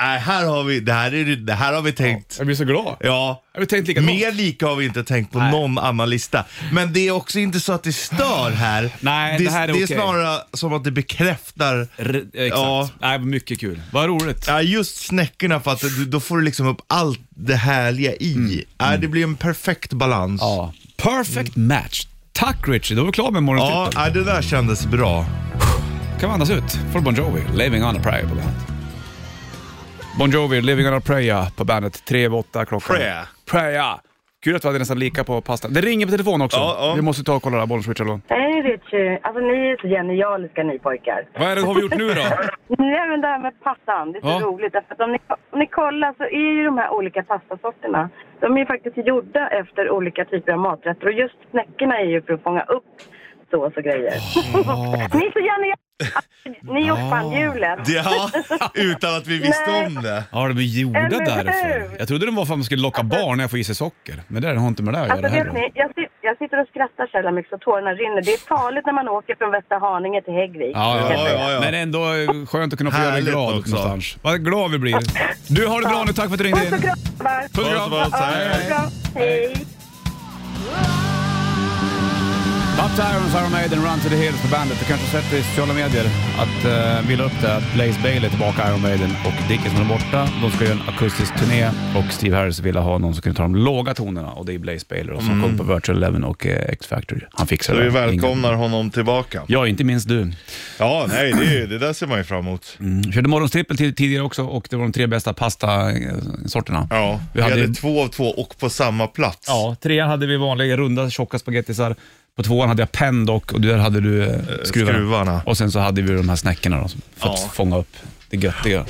Speaker 3: Nej, här har vi, det här, är, det- det här har vi tänkt.
Speaker 2: Jag blir så glad.
Speaker 3: Ja.
Speaker 2: Jag har tänkt likadant.
Speaker 3: Mer lika har vi inte tänkt på
Speaker 2: Nej.
Speaker 3: någon annan lista. Men det är också inte så att det stör här.
Speaker 2: Nej, det här är
Speaker 3: Det är
Speaker 2: okej.
Speaker 3: snarare som att det bekräftar
Speaker 2: R- eh, exakt.
Speaker 3: Ja.
Speaker 2: Nej, mycket kul. Vad roligt.
Speaker 3: Ja, just snäckorna för att du, då får du liksom upp allt det härliga i. Ja, det blir en perfekt balans.
Speaker 2: Mm. Ja. Perfect match. Tack Richie, då är vi klara med morgonens
Speaker 3: Mm. Ja,
Speaker 2: trippel.
Speaker 3: ja, det där kändes bra.
Speaker 2: kan vi andas ut. Får Bon Jovi, Living on a Prayer på bandet. Bon Jovi, Living on a Prayer på bandet. Tre över åtta klockan.
Speaker 3: Prayer.
Speaker 2: Prayer. Kul att vi hade nästan lika på pasta. Det ringer på telefon också.
Speaker 3: Ja, ja.
Speaker 2: Vi måste ta och kolla där, Bollnäs Richard.
Speaker 7: Hej Richie! Alltså ni är så genialiska ni pojkar.
Speaker 2: Vad är det har vi gjort nu då?
Speaker 7: Nej men det här med pastan, det är så
Speaker 2: Ja.
Speaker 7: roligt. Därför att om, ni, om ni kollar så är ju de här olika pastasorterna, de är ju faktiskt gjorda efter olika typer av maträtter. Och just snäckorna är ju för att fånga upp sås och grejer. ni är så genialiska! Ni uppfann hjulet.
Speaker 3: Ja, utan att vi visste om det.
Speaker 2: Ja, de är gjorda
Speaker 7: Eller hur?
Speaker 2: därför. Jag trodde de var för att man skulle locka barn när jag får i sig socker. Men det har inte med det att
Speaker 7: Alltså
Speaker 2: göra
Speaker 7: vet
Speaker 2: heller.
Speaker 7: ni, jag, sit- jag sitter och skrattar så jävla mycket så tårarna rinner. Det är farligt när man åker från Västerhaninge till Häggvik.
Speaker 2: Ja, ja,
Speaker 3: Ja,
Speaker 2: ja,
Speaker 3: ja, ja.
Speaker 2: Men ändå eh, skönt att kunna få göra dig
Speaker 3: Härligt
Speaker 2: glad
Speaker 3: också.
Speaker 2: någonstans. Vad glad vi blir. Du, har det bra nu. Tack för att du ringde
Speaker 7: Puss
Speaker 2: in.
Speaker 7: och kram grabbar!
Speaker 2: Puss och
Speaker 3: Puss
Speaker 2: kram.
Speaker 3: och kram.
Speaker 2: Hej.
Speaker 7: kram! Hej!
Speaker 2: Up to Irons, Iron Maiden, Run to the Hills på bandet. Du kanske har sett det i sociala medier att uh, vi la upp det att Blaze Bailey är tillbaka, Iron Maiden och Dickinson är borta. De ska göra en akustisk turné och Steve Harris ville ha någon som kunde ta de låga tonerna och det är Blaze Bailey då, som kom på Virtual Eleven och eh, X-Factor. Han fixar
Speaker 3: Mm. Så
Speaker 2: det.
Speaker 3: vi
Speaker 2: Ingen-
Speaker 3: välkomnar honom tillbaka.
Speaker 2: Ja, inte minst du.
Speaker 3: Ja, nej, det, är- det där ser man ju fram emot.
Speaker 2: Vi körde morgonstrippel till- tidigare också och det var de tre bästa pastasorterna.
Speaker 3: Ja,
Speaker 2: vi hade,
Speaker 3: två av två och på samma plats.
Speaker 2: ja, trean hade vi vanliga runda tjocka spagettisar. På tvåan hade jag penn dock och där hade du eh, skruvarna.
Speaker 3: skruvarna.
Speaker 2: Och sen så hade vi de här snäckorna då, som- för att
Speaker 3: Ja. Mm.
Speaker 2: fånga upp det göttiga.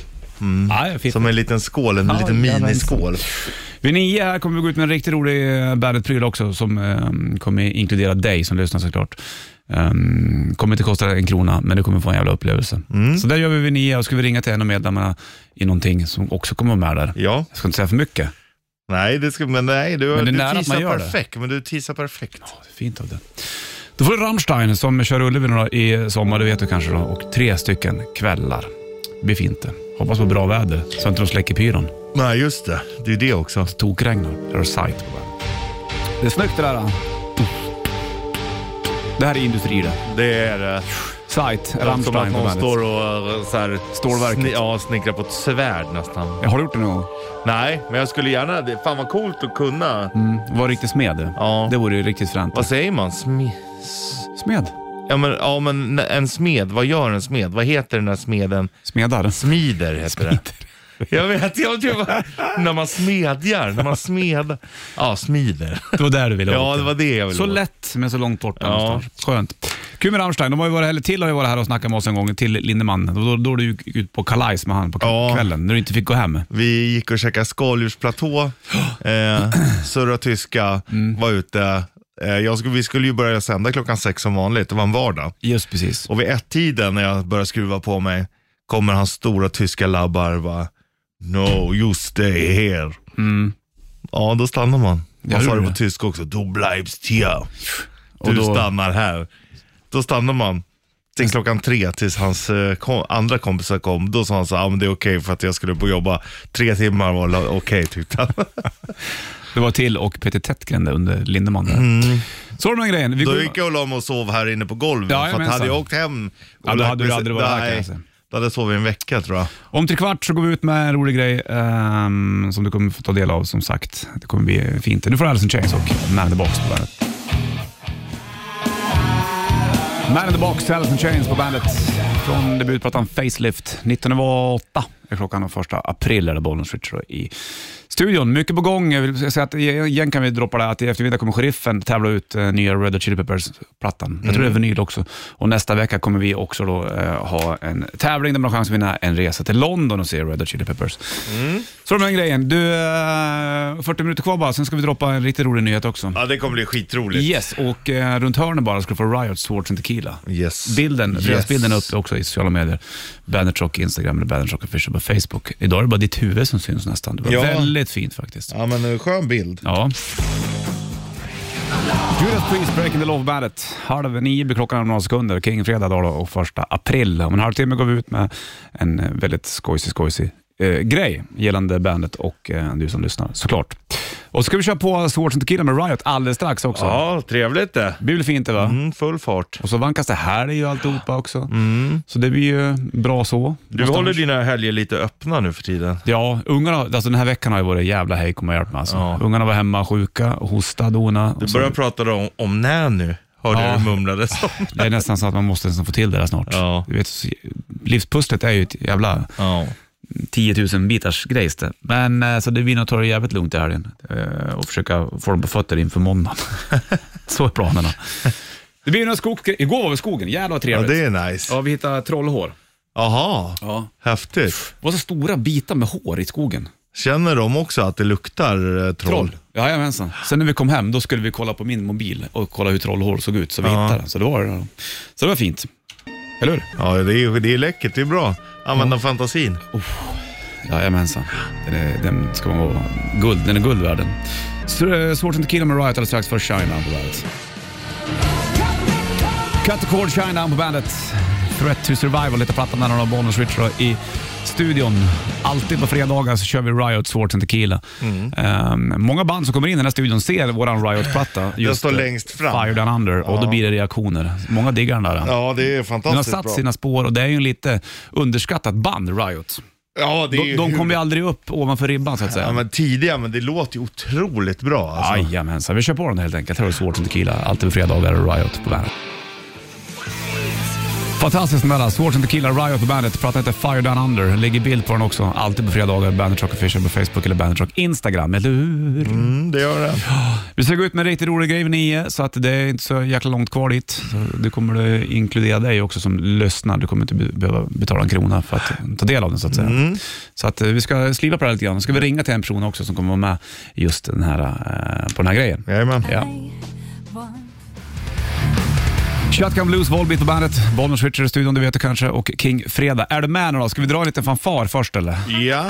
Speaker 2: Ja, fint.
Speaker 3: Som en liten skål, en liten
Speaker 2: jajamensan.
Speaker 3: miniskål.
Speaker 2: Vid nio här kommer vi gå ut med en riktigt rolig eh, Bandet-pryl också som eh, kommer inkludera dig som lyssnar såklart. Um, kommer inte kosta en krona, men du kommer få en jävla upplevelse.
Speaker 3: Mm.
Speaker 2: Så där gör vi vid nio och ska vi ringa till en av medlemmarna i någonting som också kommer vara med där.
Speaker 3: Ja,
Speaker 2: Jag ska inte säga för mycket.
Speaker 3: nej, det ska, men nej, du,
Speaker 2: Men det är nära att
Speaker 3: du
Speaker 2: man
Speaker 3: teasar
Speaker 2: gör det.
Speaker 3: perfekt. Men du teasar perfekt.
Speaker 2: Ja, det är Fint av det. Då får du Rammstein som kör Ullevi nu då i sommar, det vet du kanske då, och tre stycken kvällar. Det blir fint det. Hoppas på bra väder så att de inte släcker pyron.
Speaker 3: Nej, just det. Det är det också.
Speaker 2: Tokregnar. Här har du Sight på bandet. Det är snyggt det där. då. Det här är industri det.
Speaker 3: Det är eh,
Speaker 2: Sight,
Speaker 3: som att
Speaker 2: Rammstein på
Speaker 3: någon
Speaker 2: bandet.
Speaker 3: står och eh, så här,
Speaker 2: Stålverket.
Speaker 3: sni- ja, snickrar på ett svärd nästan.
Speaker 2: Jag har gjort det någon gång.
Speaker 3: Nej, men jag skulle gärna... Det, fan vad coolt att kunna.
Speaker 2: Mm. Var riktigt smed.
Speaker 3: Ja.
Speaker 2: Det vore ju riktigt fränt.
Speaker 3: Vad säger man? Sme-
Speaker 2: Smed?
Speaker 3: ja, men, ja, men en smed. Vad gör en smed? Vad heter den där smeden?
Speaker 2: Smedar?
Speaker 3: Smider heter det. Jag vet, jag tror bara, när man smedjar, när man smed... Ja, smider.
Speaker 2: Det var där du ville
Speaker 3: Ja,
Speaker 2: åt.
Speaker 3: det var det jag ville
Speaker 2: Så
Speaker 3: åt.
Speaker 2: lätt, men så långt borta
Speaker 3: Ja.
Speaker 2: någonstans. Skönt. Kul med Rammstein. De har ju varit, eller till har ju varit här och snackat med oss en gång, till Lindemann. Då, då, då du gick ut på kalajs med han på
Speaker 3: Ja.
Speaker 2: kvällen, när du inte fick gå hem.
Speaker 3: Vi gick och käkade skaldjursplatå, eh, surra tyska, var ute. Eh, jag skulle, vi skulle ju börja sända klockan sex som vanligt, det var en vardag.
Speaker 2: Just precis.
Speaker 3: Och vid ett-tiden när jag började skruva på mig, kommer hans stora tyska labbar va No, you stay here. Ja, då stannar man.
Speaker 2: Mm. Ja,
Speaker 3: Man sa
Speaker 2: du-
Speaker 3: det på tyska också. Du bleibst hier. Du
Speaker 2: Och då-
Speaker 3: stannar här. Då stannar man till klockan tre tills hans eh, kom, andra kompisar kom. Då sa han så ah, men det är okej för att jag skulle på jobba. Tre timmar var la- okej typ. tyckte han.
Speaker 2: Det var till och Peter Tättgren där under Lindemann. Där. Så var det med den grejen. Vi
Speaker 3: Mm. Då
Speaker 2: går-
Speaker 3: gick jag och la mig och sov här inne på golvet.
Speaker 2: Ja,
Speaker 3: för att
Speaker 2: jajamensan.
Speaker 3: hade jag åkt hem och
Speaker 2: Ja, då
Speaker 3: lagt
Speaker 2: hade du
Speaker 3: mig-
Speaker 2: aldrig varit här,
Speaker 3: Nej,
Speaker 2: kanske.
Speaker 3: Då hade jag sovit en vecka tror jag.
Speaker 2: Om tre kvart så går vi ut med en rolig grej ehm, som du kommer få ta del av som sagt. Det kommer bli fint. Nu får du Alice in Chains och Man in the Box på bandet. Man in the Box, Alice in Chains på bandet. Från debutplattan Facelift. 19.08 är klockan den 1 april är det Bollnäs Ritcher i studion. Mycket på gång. Jag vill säga att igen kan vi droppa det här att i eftermiddag kommer Sheriffen tävla ut eh, nya Red Hot Chili Peppers-plattan. Jag tror det är vinyl också. Och nästa vecka kommer vi också då, eh, ha en tävling där man har chans att vinna en resa till London och se Red Hot Chili Peppers. Så de här grejen. Du, eh, 40 minuter kvar bara, sen ska vi droppa en riktigt rolig nyhet också.
Speaker 3: Ja, det kommer bli skitroligt.
Speaker 2: Yes, och eh, runt hörnet bara ska du få Riot Swords and Tequila.
Speaker 3: Yes.
Speaker 2: Bilden,
Speaker 3: Yes.
Speaker 2: yes. bilden är uppe också i sociala medier. Bandage Rock, Instagram eller Bandage Rock Official på Facebook. Idag är det bara ditt huvud som syns nästan. Det var
Speaker 3: Ja.
Speaker 2: väldigt fint faktiskt.
Speaker 3: Ja, men eh, skön bild.
Speaker 2: Ja. Judas Priest, Breaking the Love Bandet. Halv nio blir klockan om några sekunder. Kingfredag idag då och första april. Om en halvtimme går vi ut med en eh, väldigt skojsig, skojsig eh, grej gällande bandet och eh, du som lyssnar såklart. Och så ska vi köra på Swords and Tequila med Riot alldeles strax också.
Speaker 3: Ja, trevligt det.
Speaker 2: Det blir väl fint det va?
Speaker 3: Mm, full fart.
Speaker 2: Och så vankas det här i alltihopa också. Så det blir ju bra så.
Speaker 3: Mm. Du håller dina helger lite öppna nu för tiden.
Speaker 2: Ja, ungarna, alltså den här veckan har ju varit jävla hej komma och hjälp med. Alltså.
Speaker 3: Ja.
Speaker 2: Ungarna var hemma sjuka, och hostade, dona.
Speaker 3: Du börjar prata om, om när nu, hörde
Speaker 2: Alltså- Ja.
Speaker 3: jag du mumlade som.
Speaker 2: Det är nästan så att man måste nästan få till det där snart.
Speaker 3: Ja.
Speaker 2: Du vet, livspusslet är ju ett jävla
Speaker 3: Ja.
Speaker 2: 10 000 bitars grejs det. Men eh, så det blir nog att ta det jävligt lugnt i helgen eh, och försöka få dem på fötter inför måndagen. så är planerna. Det blir några skogsgrejer. Igår var vi i skogen, jävla vad
Speaker 3: ja,
Speaker 2: trevligt.
Speaker 3: det är nice.
Speaker 2: ja, vi hittade trollhår.
Speaker 3: Jaha,
Speaker 2: Ja.
Speaker 3: häftigt.
Speaker 2: Det var så stora bitar med hår i skogen.
Speaker 3: Känner de också att det luktar eh, troll?
Speaker 2: Troll. Jajamensan. Sen när vi kom hem då skulle vi kolla på min mobil och kolla hur trollhår såg ut, så vi
Speaker 3: Ja.
Speaker 2: hittade den. Så det, var, så det var fint. Eller hur?
Speaker 3: Ja, det är, det är läckert. Det är bra. Använda fantasin.
Speaker 2: Jajamensan. Den, är, den ska man vara guld. Den är guld värd den. Så, eh, Swords and Tequila med Riot alldeles strax för Shine Down på bandet. Cut the cord, Shine Down på bandet. Threat to survival heter plattan när de har Bonus Ritual i studion. Alltid på fredagar så kör vi Riot, Swords and Tequila.
Speaker 3: Mm.
Speaker 2: Ehm, många band som kommer in i den här studion ser våran Riot-platta. just,
Speaker 3: står
Speaker 2: eh,
Speaker 3: längst fram.
Speaker 2: Fire Down Under och då blir det reaktioner. Många diggar den där.
Speaker 3: Ja, det är
Speaker 2: den har
Speaker 3: fantastiskt
Speaker 2: satt
Speaker 3: bra.
Speaker 2: sina spår och det är ju en lite underskattat band, Riot.
Speaker 3: Ja, det är
Speaker 2: De,
Speaker 3: ju
Speaker 2: de
Speaker 3: hur-
Speaker 2: kommer ju aldrig upp ovanför ribban så att
Speaker 3: ja,
Speaker 2: säga.
Speaker 3: men tidiga, men det låter ju otroligt bra. Alltså.
Speaker 2: Jajamensan, vi kör på den helt enkelt. Här har du Swords and Tequila, alltid på fredagar och Riot på bandet. Fantastiskt snälla, Swords and Tequila, Riot på bandet. Prata heter Fire Down Under, lägger bild på den också. Alltid på fredagar, Bandet Rock Official på Facebook eller Bandet Rock Instagram, eller hur?
Speaker 3: Mm, det gör det.
Speaker 2: Vi ska gå ut med en riktigt rolig grej vid nio, så att det är inte så jäkla långt kvar dit. Så det kommer att inkludera dig också som lyssnar. Du kommer inte be- behöva betala en krona för att ta del av den så att säga. Så att eh, vi ska sliva på det här lite grann. Ska vi ringa till en person också som kommer vara med just den här, eh, på den här grejen.
Speaker 3: Jajamän.
Speaker 2: Ja. Shotgun Blues, Volbeat på bandet, Bollnäs Switcher i studion, du vet det kanske, och King Fredag. Är du med nu då? Ska vi dra en liten fanfar först eller?
Speaker 3: Ja,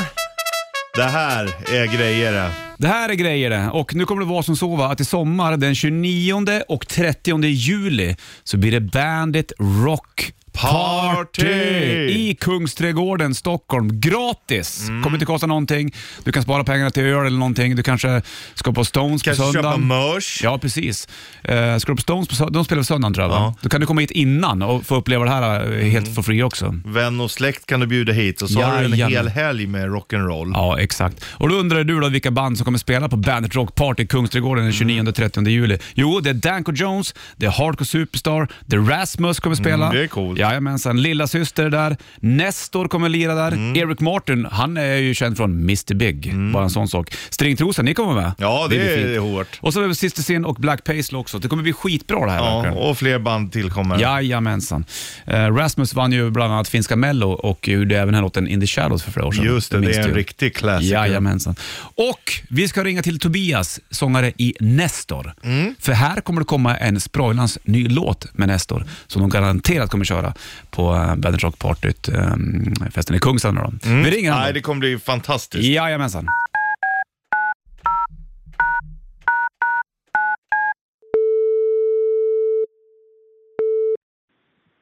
Speaker 3: det här är grejer det.
Speaker 2: Det här är grejer det. Och nu kommer det vara som så va, att i sommar den 29 och 30 juli så blir det Bandit Rock Party
Speaker 3: Party! Mm.
Speaker 2: i Kungsträdgården, Stockholm. Gratis! Kommer inte kosta någonting. Du kan spara pengarna till öl eller någonting. Du kanske ska på Stones
Speaker 3: Kanske
Speaker 2: på
Speaker 3: köpa
Speaker 2: söndagen.
Speaker 3: mörs.
Speaker 2: Ja, precis. Eh, ska du på Stones på sö- De spelar på söndagen tror jag va?
Speaker 3: Ja. Mm.
Speaker 2: Då kan du komma hit innan och få uppleva det här eh, helt for free också.
Speaker 3: Vän och släkt kan du bjuda hit och så har du en
Speaker 2: Jajamän.
Speaker 3: hel helg med rock'n'roll.
Speaker 2: Ja, exakt. Och då undrar du då vilka band som kommer spela på Bandit Rock Party i Kungsträdgården den
Speaker 3: Mm.
Speaker 2: 29 och 30 juli. Jo, det är Danko Jones, det är Hardcore Superstar, The Rasmus kommer spela.
Speaker 3: Mm, det är coolt.
Speaker 2: Jajamensan. Lilla syster är där, Nestor kommer lira där,
Speaker 3: Mm.
Speaker 2: Eric Martin, han är ju känd från Mr Big, bara en sån sak. Stringtrosan, ni kommer med?
Speaker 3: Ja, det
Speaker 2: blir
Speaker 3: är
Speaker 2: fint.
Speaker 3: hårt.
Speaker 2: Och så är det Sister Sin och Black Paisley också. Det kommer bli skitbra det här
Speaker 3: Ja,
Speaker 2: verkligen.
Speaker 3: och fler band tillkommer.
Speaker 2: Jajamensan. Eh, Rasmus vann ju bland annat finska Mello och gjorde även den här låten In the Shadows för flera år sedan.
Speaker 3: Just det, det
Speaker 2: minns
Speaker 3: är en
Speaker 2: du.
Speaker 3: riktig klassiker.
Speaker 2: Jajamensan. Och vi ska ringa till Tobias, sångare i Nestor.
Speaker 3: Mm.
Speaker 2: För här kommer det komma en sprojlans ny låt med Nestor som de garanterat kommer köra på eh, Bandit Rock Partyt, eh, festen i Kungsan. med dem. Vi ringer
Speaker 3: Mm. Nej,
Speaker 2: honom.
Speaker 3: det kommer bli fantastiskt.
Speaker 2: Jajamensan.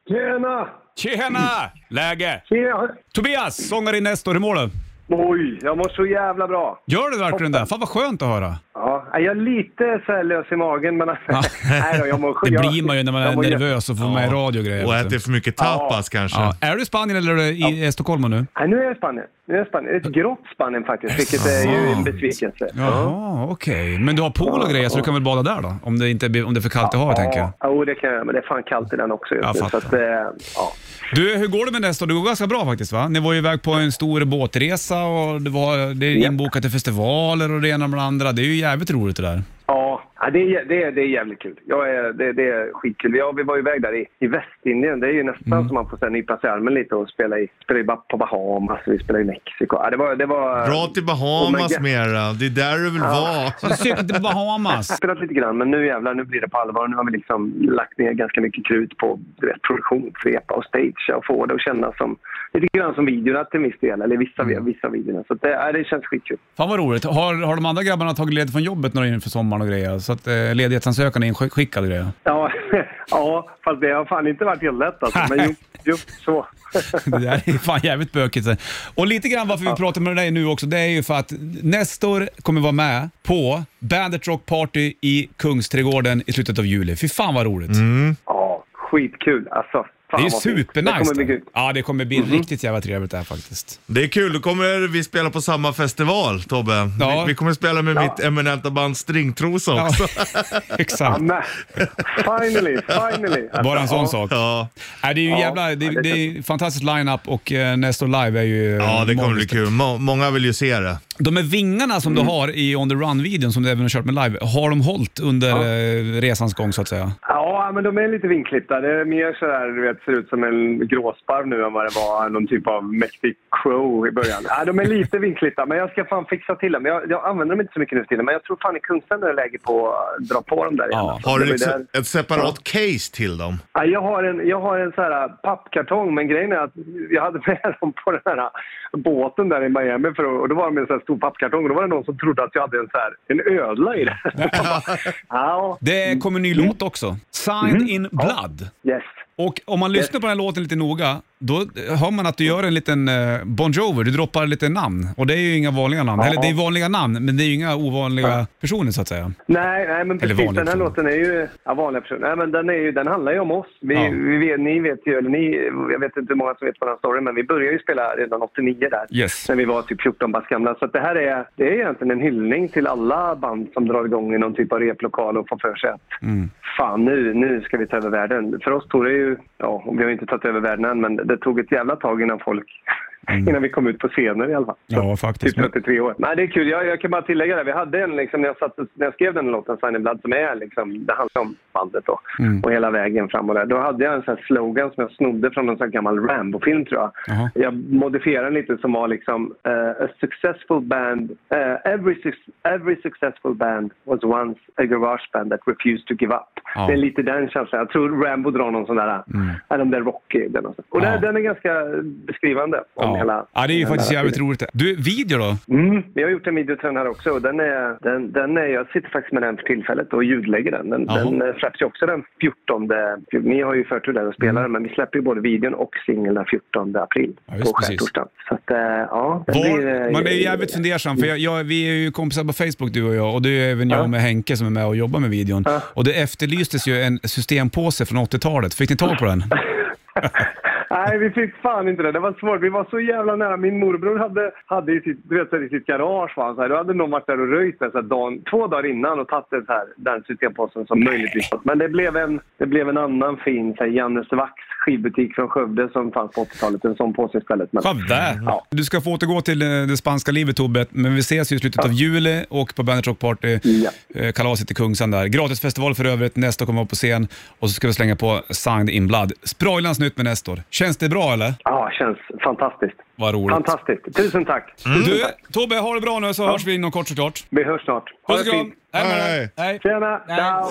Speaker 8: Tjena!
Speaker 2: Tjena! Läge?
Speaker 8: Tjena!
Speaker 2: Tobias, sångare i Nestor, hur mår du?
Speaker 8: Oj, jag mår så jävla bra.
Speaker 2: Gör du verkligen det? Fan vad skönt att höra.
Speaker 8: Ja, jag är lite så här lös i magen, men... Nej då, jag mår
Speaker 2: Det
Speaker 8: jag-
Speaker 2: blir man ju när man
Speaker 8: jag
Speaker 2: är
Speaker 8: mår jä-
Speaker 2: nervös och får med i radio och grejer.
Speaker 3: Och
Speaker 2: vet du.
Speaker 3: äter för mycket tapas kanske.
Speaker 2: ja. Är du i Spanien eller är du i i Stockholm nu?
Speaker 8: Nej, nu är jag i Spanien. Nu är jag i Spanien. Ett grått Spanien faktiskt, vilket är ju en besvikelse.
Speaker 2: Jaha, okej. Men du har pool och grejer så du kan väl bada där då? Om det, inte, blir- om det är för kallt i havet tänker jag.
Speaker 8: Ja, jo, det kan jag göra, men det är fan kallt i den också just
Speaker 2: Jag
Speaker 8: nu. Så
Speaker 2: fattar.
Speaker 8: att, eh, ja.
Speaker 2: Du, hur går det med Nestor? Det går ganska bra faktiskt va? Ni var ju iväg på en stor båtresa och det, var, det är
Speaker 8: Japp.
Speaker 2: inbokat till festivaler och det ena med det andra. Det är ju jävligt roligt det där.
Speaker 8: Ja, ja, det är, det är, det är jävligt kul. Jag är, det, det är skitkul. Ja, vi var ju iväg där i, i Västindien. Det är ju nästan
Speaker 2: Mm.
Speaker 8: som man får så här nypa sig i armen lite och spela, i, spela i, Ba- på Bahamas, vi spelade i Mexiko. Ja, det var, det var...
Speaker 3: Dra till
Speaker 8: Oh
Speaker 3: Bahamas
Speaker 8: my God.
Speaker 3: mera. Det är där du vill vara.
Speaker 2: Så du cyklade till
Speaker 8: Jag har
Speaker 2: Bahamas.
Speaker 8: spelat lite grann, men nu jävlar, nu blir det på allvar. Nu har vi liksom lagt ner ganska mycket krut på du vet, produktion, svepa och stage och få det att kännas som lite grann som videorna till viss del, eller vissa,
Speaker 2: Mm.
Speaker 8: vissa videorna. Så att det, ja, det känns skitkul.
Speaker 2: Fan vad roligt. Har, har de andra grabbarna tagit ledigt från jobbet när de är inför sommaren och grejer? Så att eh, ledighetsansökan är inskickad och grejer?
Speaker 8: Ja, ja, fast det har fan inte varit helt lätt alltså. Men jo, jo så.
Speaker 2: Det där är fan jävligt bökigt. Och lite grann varför vi pratar med dig nu också, det är ju för att Nestor kommer vara med på Bandit Rock Party i Kungsträdgården i slutet av juli. Fy fan vad roligt.
Speaker 8: Mm. Ja, skitkul alltså. Fan
Speaker 2: Det är ju
Speaker 8: vad fint. Det
Speaker 2: supernice.
Speaker 8: kommer bli Mm-hmm.
Speaker 2: då.
Speaker 8: kul.
Speaker 2: ja, det kommer bli riktigt jävla trevligt det här faktiskt.
Speaker 3: Det är kul, då kommer vi spela på samma festival Tobbe.
Speaker 2: Ja.
Speaker 3: Vi, vi kommer spela med mitt eminenta band Stringtrosa
Speaker 2: Ja,
Speaker 3: också.
Speaker 2: exakt.
Speaker 8: Men, finally, finally. Alltså,
Speaker 2: Bara en sån
Speaker 8: ja.
Speaker 2: sak. Nej, det är ju
Speaker 8: Ja,
Speaker 2: jävla, det,
Speaker 8: ja, det
Speaker 2: det är fantastisk line-up och eh, Nestor Live är ju eh,
Speaker 3: Ja, det kommer bli
Speaker 2: magiskt.
Speaker 3: kul. Må- många vill ju se det.
Speaker 2: De här vingarna som
Speaker 8: Mm.
Speaker 2: du har i On the Run-videon som du även har kört med live, har de hållit under eh, resans gång så att säga?
Speaker 8: Ja, men de är lite vinklippta. Det är mer så här, du vet, ser ut som en gråsparv nu än vad det var någon typ av mäktig crow i början. Ja, de är lite vinklippta, men jag ska fan fixa till dem. Jag, jag använder dem inte så mycket nu för tiden, men jag tror fan i Kungsträdgården är det läge på att dra på dem där igen.
Speaker 2: Ja.
Speaker 8: alltså.
Speaker 3: Har du
Speaker 8: Det var ju
Speaker 3: liksom
Speaker 8: där-
Speaker 3: ett separat case till dem?
Speaker 8: Ja, jag har en, jag har en så här pappkartong, men grejen är att jag hade med dem på den här båten där i Miami för, att- och då var de i en så här stor pappkartong och då var det någon som trodde att jag hade en, så här, en ödla i den. ja,
Speaker 2: Det kommer en ny låt
Speaker 8: Mm.
Speaker 2: också. Signed in blood.
Speaker 8: yes.
Speaker 2: Och om man lyssnar på den här låten lite noga, då hör man att du gör en liten eh, Bon Jovi. Du droppar lite namn. Och det är ju inga vanliga namn. Eller det är vanliga namn, men det är ju inga ovanliga personer så att säga.
Speaker 8: Nej, nej, men
Speaker 2: Eller
Speaker 8: precis.
Speaker 2: vanliga
Speaker 8: Den
Speaker 2: personer.
Speaker 8: här låten är ju... Ja, vanliga personer. Nej, men den, är ju, den handlar ju om oss. Vi,
Speaker 2: Ja.
Speaker 8: vi, vet- ni vet ju, eller ni, jag vet inte hur många som vet vad den storyn men vi började ju spela redan 89 där.
Speaker 2: Yes.
Speaker 8: När vi var typ 14 bast gamla. Så att det här är, det är egentligen en hyllning till alla band som drar igång i någon typ av replokal och får för sig att
Speaker 2: Mm.
Speaker 8: fan nu, nu ska vi ta över världen. För oss tog det ju, ja, och vi har ju inte tagit över världen än, men det tog ett jävla tag innan folk Innan vi kom ut på scener i alla fall.
Speaker 2: Mm. Ja, faktiskt.
Speaker 8: Typ 33 år. Nej, det är kul. Jag, jag kan bara tillägga det. Vi hade en, liksom, när, jag satt, när jag skrev den låten, Sign in Blood, som är liksom, det handlar om bandet då.
Speaker 2: Mm.
Speaker 8: Och hela vägen fram och där. Då hade jag en sån här slogan som jag snodde från en sån här gammal Rambo-film tror jag.
Speaker 2: Jaha.
Speaker 8: Jag modifierade den lite som var liksom eh, A successful band, eh, every, suc- every successful band was once a garage band that refused to give up.
Speaker 2: Ja.
Speaker 8: Det är lite den känslan. Jag tror Rambo drar någon sån där, mm. den där Rocky. Den och så. och
Speaker 2: Ja.
Speaker 8: den, den är ganska beskrivande om hela...
Speaker 2: Ja. ja, det är ju
Speaker 8: hela
Speaker 2: faktiskt jävligt
Speaker 8: tiden.
Speaker 2: roligt. Du, video då?
Speaker 8: Mm, vi har gjort en video till den här också. Och den är, den, den är, jag sitter faktiskt med den för tillfället och ljudlägger den. Den,
Speaker 2: Jaha.
Speaker 8: den eh, släpps ju också den 14. Ni har ju förtur där och spelar den, men vi släpper ju både videon och singeln den 14 april.
Speaker 2: Mm. Ja, just
Speaker 8: på
Speaker 2: precis.
Speaker 8: skärtorsdagen. Så att, eh, ja. den blir,
Speaker 2: Var,
Speaker 8: eh,
Speaker 2: man är ju jävligt fundersam, för jag, jag, vi är ju kompisar på Facebook du och jag och det är även jag med Henke som är med och jobbar med videon. Och det efterlystes ju en systempåse från 80-talet. Fick ni tag på den?
Speaker 8: Nej, vi fick fan inte det. Det var svårt. Vi var så jävla nära. Min morbror hade, hade i, sitt, du vet, så här, i sitt garage, va? han, så här, då hade någon varit där och röjt den så här, dagen, två dagar innan och tagit den, så här, den systempåsen som möjligtvis var. Men det blev en, det blev en annan fin, så här, Jannes Vax skivbutik från Skövde som fanns på 80-talet. En sån påse istället. Men,
Speaker 2: Skövde!
Speaker 8: Ja.
Speaker 2: Mm. Du ska få återgå till eh, det spanska livet Tobbe, men vi ses ju i slutet av juli och på Bandit Rock Party,
Speaker 8: Ja.
Speaker 2: eh, kalaset i Kungsan där. Gratisfestival för övrigt, Nestor kommer upp på scen och så ska vi slänga på Signed in Blood. Sproilans nytt med Nestor. Känns det bra eller?
Speaker 8: ja, känns fantastiskt.
Speaker 2: Vad roligt. Mm.
Speaker 8: Fantastiskt. Tusen tack.
Speaker 2: Du, Tobbe, ha det bra nu så hörs vi inom kort såklart.
Speaker 8: Vi hörs snart. Ha
Speaker 2: Puss
Speaker 8: det
Speaker 2: och kram!
Speaker 8: fint.
Speaker 2: Hej med dig!
Speaker 3: Hej.
Speaker 2: Hej!
Speaker 8: Tjena!
Speaker 2: Nej.
Speaker 8: Ciao!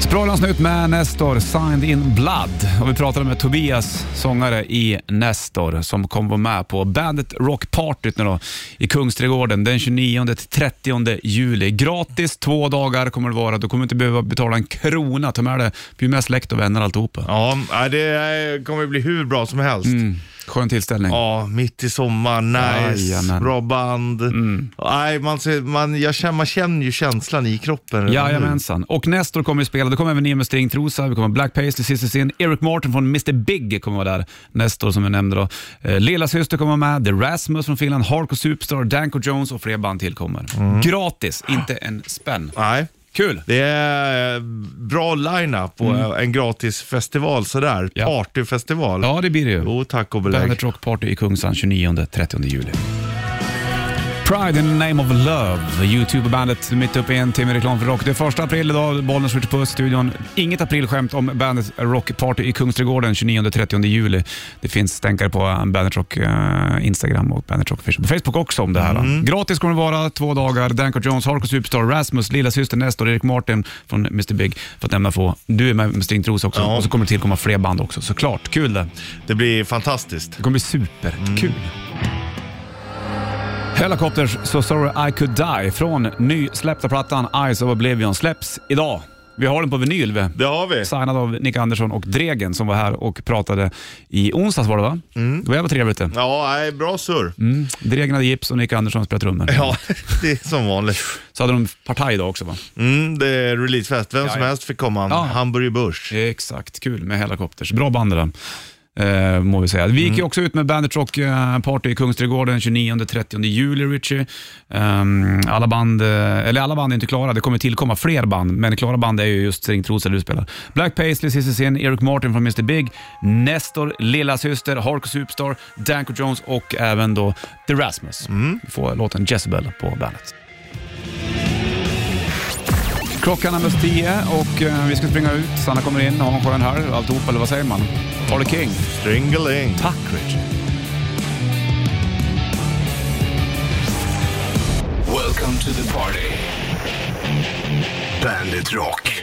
Speaker 2: Sprallans nytt med Nestor, Signed in Blood. Och vi pratade med Tobias, sångare i Nestor, som kommer vara med på Bandet Rock Party nu då, i Kungsträdgården den 29-30 juli. Gratis två dagar kommer det vara. Du kommer inte behöva betala en krona. Ta med dig, bjud med släkt och vänner alltihopa.
Speaker 3: Ja, nej, det eh, kommer bli hur bra som helst.
Speaker 2: Mm. Skön tillställning.
Speaker 3: Ja, mitt i sommaren, nice,
Speaker 2: Jajamän. Mm.
Speaker 3: bra band. Nej, man, ser- man, jag känner, man känner ju känslan i kroppen. redan nu.
Speaker 2: Jajamensan. Och Nestor kommer ju spela. Det kommer även Nemo Stringtrosa, vi kommer ha Black Paisley, Sister Sin, Eric Martin från Mr Big kommer vara där. Nestor som jag nämnde då. Eh, Lilla Syster kommer vara med, The Rasmus från Finland, Harko Superstar, Danko Jones och fler band till kommer. Gratis, inte en spänn.
Speaker 3: Nej.
Speaker 2: Kul! Mm.
Speaker 3: Det är eh, bra line-up och eh, en gratis festival sådär.
Speaker 2: Ja.
Speaker 3: Partyfestival.
Speaker 2: Ja, det blir det ju.
Speaker 3: Jo, tack och belägg.
Speaker 2: Bandet Rock Party i Kungsan 29-30 juli. Pride in the name of love. Youtube-bandet mitt uppe i en timme reklam för rock. Det är första april idag, bollen skjuter på studion. Inget aprilskämt om bandet Rock Party i Kungsträdgården 29-30 juli. Det finns stänkare på Bandet Rock eh, Instagram och Bandet Rock Facebook- Facebook också om det här. Gratis kommer det vara, två dagar. Danko Jones, Harko Superstar, Rasmus, Lilla Syster Nestor, Erik Martin från Mr Big för att nämna få. Du är med med Stringtros också
Speaker 3: Ja.
Speaker 2: och så kommer det tillkomma fler band också såklart. Kul det.
Speaker 3: Det blir fantastiskt.
Speaker 2: Det kommer bli superkul. Helicopters So Sorry I Could Die från nysläppta plattan Eyes of Oblivion släpps idag. Vi har den på vinyl. vi.
Speaker 3: Det har vi.
Speaker 2: Signad av Nick Andersson och Dregen som var här och pratade i onsdags var det va? Det var jävla trevligt det.
Speaker 3: Mm. Ja, nej, bra surr.
Speaker 2: Mm. Dregen hade gips och Nick Andersson spelade trummor.
Speaker 3: Ja, det är som vanligt.
Speaker 2: Så hade de partaj idag också va?
Speaker 3: Mm, det är releasefest. Vem som
Speaker 2: ja.
Speaker 3: helst fick komma.
Speaker 2: Ja.
Speaker 3: Hamburger Börs.
Speaker 2: Exakt, kul med Helicopters. Bra band det där. Eh, må vi säga. Vi gick ju också ut med Bandit Rock eh, Party i Kungsträdgården 29-30 juli, Richie. Ehm, alla band, eh, eller alla band är inte klara, det kommer tillkomma fler band, men klara band är ju just String Trosa du spelar. Black Paisley, Cissi Sin, Eric Martin från Mr Big, Nestor, Lilla Syster, Harko Superstar, Danko Jones och även då The Rasmus. Vi får låten Jezebel på bandet. Klockan är närmast tio och eh, vi ska springa ut. Sanna kommer in, har en skön här, alltihop, eller vad säger man? Har det king?
Speaker 3: Stringeling.
Speaker 2: Tack Richie.
Speaker 1: Welcome to the party. Bandit Rock.